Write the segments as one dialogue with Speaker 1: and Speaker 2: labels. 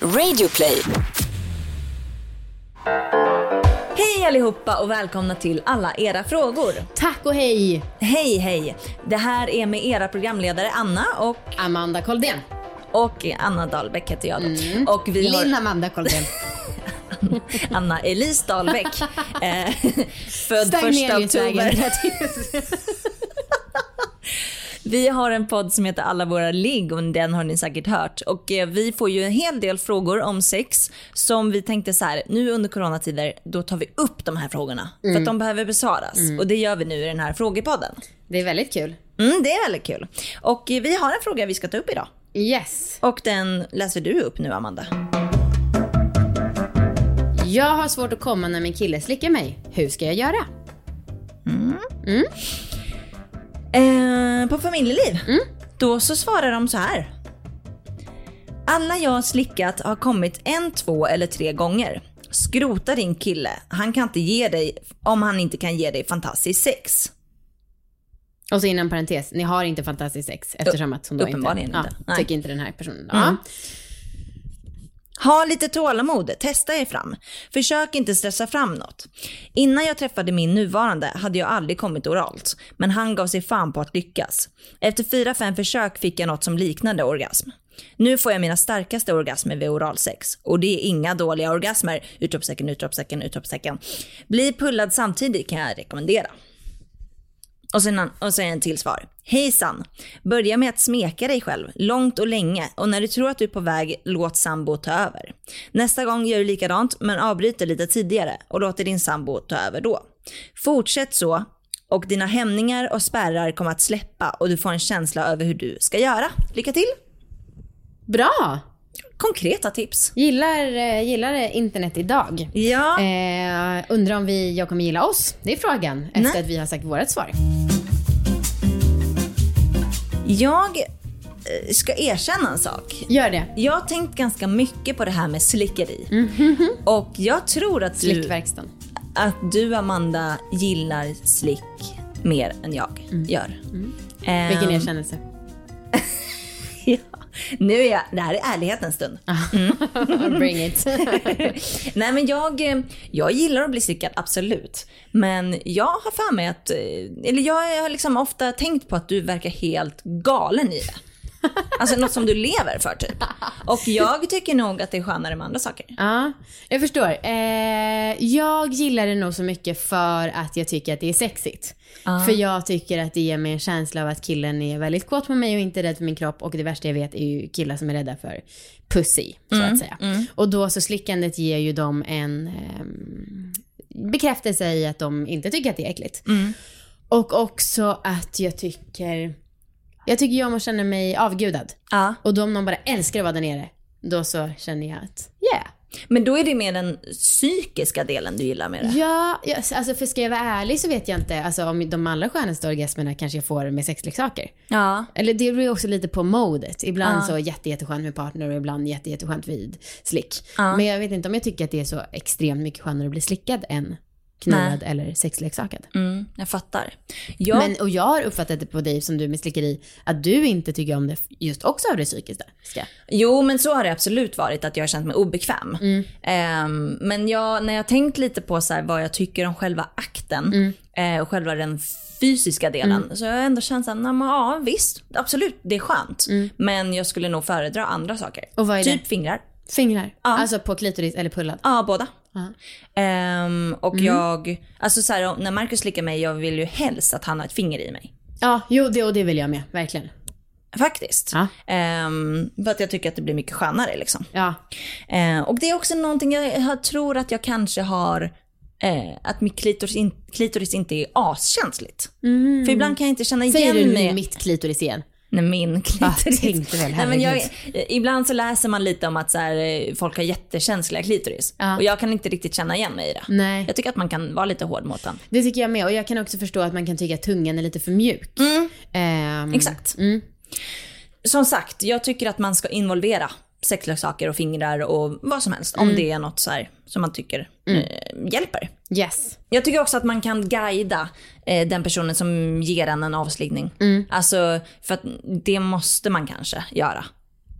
Speaker 1: Radioplay.
Speaker 2: Hej allihopa och välkomna till alla era frågor.
Speaker 3: Tack och hej
Speaker 2: Hej hej! Det här är med era programledare Anna och,
Speaker 3: Amanda Koldén.
Speaker 2: och Anna Dahlbäck heter jag då. Och vi har
Speaker 3: Linn Amanda Koldén.
Speaker 2: Anna Elise Dahlbäck. eh, född
Speaker 3: Stäng ner
Speaker 2: första
Speaker 3: utvägen.
Speaker 2: oktober. Vi har en podd som heter Alla våra ligg och den har ni säkert hört. Och eh, vi får ju en hel del frågor om sex som vi tänkte så här, nu under coronatider då tar vi upp de här frågorna.
Speaker 3: Mm.
Speaker 2: För att de behöver besvaras och det gör vi nu i den här frågepodden.
Speaker 3: Det är väldigt kul.
Speaker 2: Mm, det är väldigt kul. Och eh, vi har en fråga vi ska ta upp idag.
Speaker 3: Yes.
Speaker 2: Och den läser du upp nu Amanda.
Speaker 3: Jag har svårt att komma när min kille slickar mig. Hur ska jag göra?
Speaker 2: Eh, på familjeliv. Då så svarar de så här. Alla jag slickat har kommit en, två eller tre gånger. Skrota din kille. Han kan inte ge dig om han inte kan ge dig fantastiskt sex.
Speaker 3: Och så innan parentes, ni har inte fantastiskt sex eftersom att hon då
Speaker 2: Uppenbarligen
Speaker 3: inte,
Speaker 2: inte.
Speaker 3: Ja,
Speaker 2: Nej. Mm.
Speaker 3: tycker inte den här personen. Ja.
Speaker 2: Ha lite tålamod, testa er fram. Försök inte stressa fram något. Innan jag träffade min nuvarande hade jag aldrig kommit oralt, men han gav sig fan på att lyckas. Efter fyra fem försök fick jag något som liknade orgasm. Nu får jag mina starkaste orgasmer vid oralsex och det är inga dåliga orgasmer. Utropstecken, utropstecken, utropstecken. Bli pullad samtidigt kan jag rekommendera. Och sen, och sen en till svar. Hejsan! Börja med att smeka dig själv, långt och länge. Och när du tror att du är på väg, låt sambo ta över. Nästa gång gör du likadant, men avbryter lite tidigare och låter din sambo ta över då. Fortsätt så och dina hämningar och spärrar kommer att släppa och du får en känsla över hur du ska göra. Lycka till!
Speaker 3: Bra!
Speaker 2: Konkreta tips.
Speaker 3: Gillar, eh, gillar eh, internet idag.
Speaker 2: Ja.
Speaker 3: Eh, undrar om vi, jag kommer gilla oss? Det är frågan. Efter
Speaker 2: Nej.
Speaker 3: att vi har sagt vårt svar.
Speaker 2: Jag eh, ska erkänna en sak.
Speaker 3: Gör det.
Speaker 2: Jag har tänkt ganska mycket på det här med slickeri. Och jag tror att du,
Speaker 3: Slickverkstan.
Speaker 2: att du Amanda gillar slick mer än jag gör. Ehm,
Speaker 3: Mm. Vilken erkännelse.
Speaker 2: ja. Nu är jag, det här är ärlighetens stund.
Speaker 3: Ah. Bring it.
Speaker 2: Nej men jag, eh, jag gillar att bli slickad, absolut. Men jag har för mig att, eh, eller jag har liksom ofta tänkt på att du verkar helt galen i det. Alltså något som du lever för typ. Och jag tycker nog att det är skönare med andra saker.
Speaker 3: Ja, jag förstår. Eh, jag gillar det nog så mycket för att jag tycker att det är sexigt. Ah.
Speaker 2: Ah.
Speaker 3: För jag tycker att det ger mig en känsla av att killen är väldigt kåt på mig och inte rädd för min kropp. Och det värsta jag vet är ju killar som är rädda för pussy, så att säga. Och då så slickandet ger ju dem en ehm, bekräftelse i att de inte tycker att det är äckligt.
Speaker 2: Mm.
Speaker 3: Och också att jag tycker, jag tycker jag må känna mig avgudad.
Speaker 2: Ja.
Speaker 3: Och då om någon bara älskar att vara där nere, då så känner jag att yeah.
Speaker 2: Men då är det mer den psykiska delen du gillar med det.
Speaker 3: Ja, ja, alltså för ska jag vara ärlig så vet jag inte. Alltså om de allra skönaste orgasmerna kanske jag får med sexleksaker.
Speaker 2: Ja.
Speaker 3: Eller det beror ju också lite på modet. Ibland så jätte, jätteskönt med partner och ibland jätte, jätteskönt vid slick.
Speaker 2: Ah.
Speaker 3: Men jag vet inte om jag tycker att det är så extremt mycket skönare att bli slickad än knullad eller sexleksakad.
Speaker 2: Mm, jag fattar. Jag,
Speaker 3: Men, och jag har uppfattat det på dig som du med slickeri, att du inte tycker om det just också av det psykiska.
Speaker 2: jo, men så har det absolut varit att jag har känt mig obekväm.
Speaker 3: Mm.
Speaker 2: Ehm, men jag, när jag har tänkt lite på så här, vad jag tycker om själva akten
Speaker 3: Mm.
Speaker 2: eh, och själva den fysiska delen så har jag ändå känt så här, nej, men, ja visst, absolut det är skönt. Men jag skulle nog föredra andra saker.
Speaker 3: Och Mm. vad är det?
Speaker 2: typ fingrar.
Speaker 3: Fingrar. Alltså på klitoris eller pullad.
Speaker 2: Ja, båda. Ehm, och
Speaker 3: Mm.
Speaker 2: jag, alltså så här, när Marcus slickar mig, jag vill ju helst att han har ett finger i mig.
Speaker 3: Ja, jo det, och det vill jag med. Verkligen.
Speaker 2: Faktiskt.
Speaker 3: Ja.
Speaker 2: Ehm, för att jag tycker att det blir mycket skönare. Liksom.
Speaker 3: Ja.
Speaker 2: Ehm, och det är också någonting jag har- tror att jag kanske har, eh, att mitt klitoris, in, klitoris inte är askänsligt. För ibland kan jag inte känna
Speaker 3: Mm. Säger
Speaker 2: igen
Speaker 3: du
Speaker 2: mig.
Speaker 3: nu mitt klitoris igen?
Speaker 2: Nej, min klitoris.
Speaker 3: Jag tänkte väl,
Speaker 2: Nej, men jag,
Speaker 3: herregud.
Speaker 2: ibland så läser man lite om att så här, eh, folk har jättekänsliga klitoris.
Speaker 3: Ja.
Speaker 2: Och jag kan inte riktigt känna igen mig i det.
Speaker 3: Nej.
Speaker 2: Jag tycker att man kan vara lite hård mot den.
Speaker 3: Det tycker jag med. Och jag kan också förstå att man kan tycka att tungan är lite för mjuk. Ehm,
Speaker 2: Exakt. Som sagt, jag tycker att man ska involvera sexleksaker och fingrar och vad som helst.
Speaker 3: Mm.
Speaker 2: Om det är något så här som man tycker eh, hjälper.
Speaker 3: Yes.
Speaker 2: Jag tycker också att man kan guida eh, den personen
Speaker 3: Mm.
Speaker 2: som ger en en avslickning. Alltså, för att det måste man kanske göra.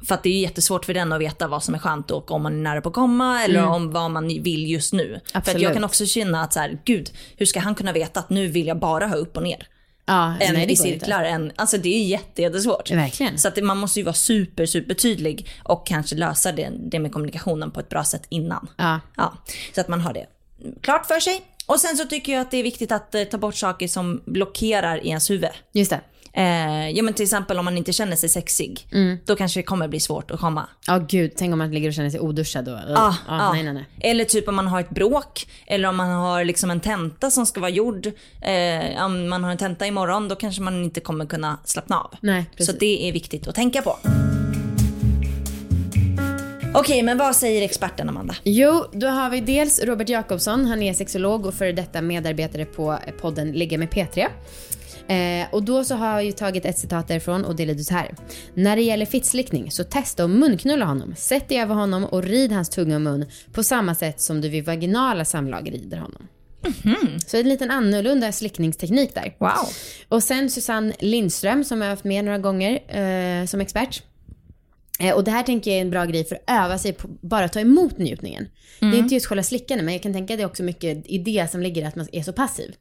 Speaker 2: För att det är jättesvårt för den att veta vad som är skönt och om man är nära på att komma eller om vad man vill just nu. För att
Speaker 3: Mm. Absolut.
Speaker 2: jag kan också känna att så här, gud, hur ska han kunna veta att nu vill jag bara ha upp och ner?
Speaker 3: Ja,
Speaker 2: En
Speaker 3: Alltså, nej, det
Speaker 2: i
Speaker 3: går inte.
Speaker 2: cirklar, en, alltså det är jätte, jättesvårt.
Speaker 3: Verkligen.
Speaker 2: Så att det, man måste ju vara super, super tydlig och kanske lösa det, det med kommunikationen på ett bra sätt innan.
Speaker 3: Ja.
Speaker 2: Ja, så att man har det klart för sig. Och sen så tycker jag att det är viktigt att eh, ta bort saker som blockerar i ens huvud.
Speaker 3: Just det.
Speaker 2: Eh, ja men till exempel om man inte känner sig sexig,
Speaker 3: Mm.
Speaker 2: då kanske det kommer bli svårt att komma.
Speaker 3: Ja gud, tänk om man ligger och känner sig oduschad då. Ja,
Speaker 2: ja.
Speaker 3: Nej, nej, nej.
Speaker 2: Eller typ om man har ett bråk, eller om man har liksom en tenta som ska vara gjord. Eh, om man har en tenta imorgon, då kanske man inte kommer kunna slappna av.
Speaker 3: Nej,
Speaker 2: Så
Speaker 3: Mm, precis.
Speaker 2: det är viktigt att tänka på. Okej, men vad säger experten Amanda?
Speaker 3: Jo, då har vi dels Robert Jakobsson. Han är sexolog och före detta medarbetare på podden Ligga med P3. Eh, och då så har jag ju tagit ett citat därifrån och det lyder så här. När det gäller fittslickning så testa att munknulla honom. Sätt dig över honom och rid hans tunga och mun på samma sätt som du vid vaginala samlag rider honom. Så en liten annorlunda slickningsteknik där.
Speaker 2: Wow.
Speaker 3: Och sen Susanne Lindström som jag har haft med några gånger eh, som expert. Eh, och det här tänker jag är en bra grej för att öva sig på bara ta emot njutningen. Det är inte just själva slickandet men jag kan tänka att det är också mycket i det som ligger att man är så passiv.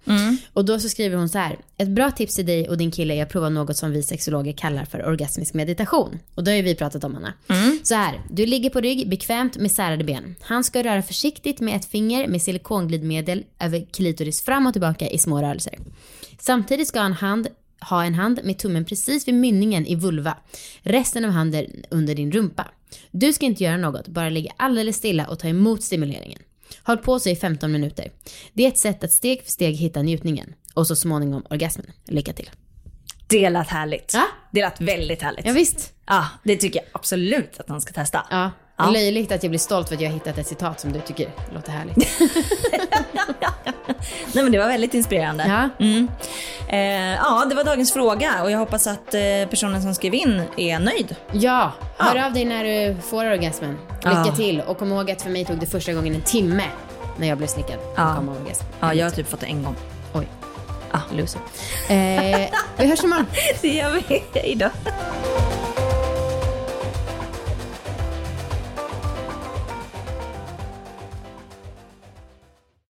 Speaker 3: Och då så skriver hon så här. Ett bra tips till dig och din kille är att prova något som vi sexologer kallar för orgasmisk meditation. Och det har ju vi pratat om Anna. Så här, du ligger på rygg bekvämt med särade ben. Han ska röra försiktigt med ett finger med silikonglidmedel över klitoris fram och tillbaka i små rörelser. Samtidigt ska han hand ha en hand med tummen precis vid mynningen i vulva. Resten av handen under din rumpa. Du ska inte göra något, bara ligga alldeles stilla och ta emot stimuleringen. Håll på så i 15 minuter. Det är ett sätt att steg för steg hitta njutningen och så småningom orgasmen. Lycka till.
Speaker 2: Det lät härligt.
Speaker 3: Ja.
Speaker 2: Det lät väldigt härligt.
Speaker 3: Ja, visst.
Speaker 2: Ja, det tycker jag absolut att han ska testa.
Speaker 3: Ja.
Speaker 2: Ja.
Speaker 3: Löjligt att jag blir stolt för att jag har hittat ett citat som du tycker låter härligt.
Speaker 2: Nej men det var väldigt inspirerande.
Speaker 3: Ja.
Speaker 2: Mm. Eh, ja, det var dagens fråga och jag hoppas att eh, personen som skrev in är nöjd.
Speaker 3: ja, hör av dig när du får orgasmen. Lycka
Speaker 2: Ja.
Speaker 3: till och kom ihåg att för mig tog det första gången en timme när jag blev slickad.
Speaker 2: Ja.
Speaker 3: Ja. Kom orgasm.
Speaker 2: Ja, jag har typ fått det en gång.
Speaker 3: Oj.
Speaker 2: Ja, loser.
Speaker 3: Eh, vi hörs imorgon.
Speaker 2: Det gör vi. Hejdå.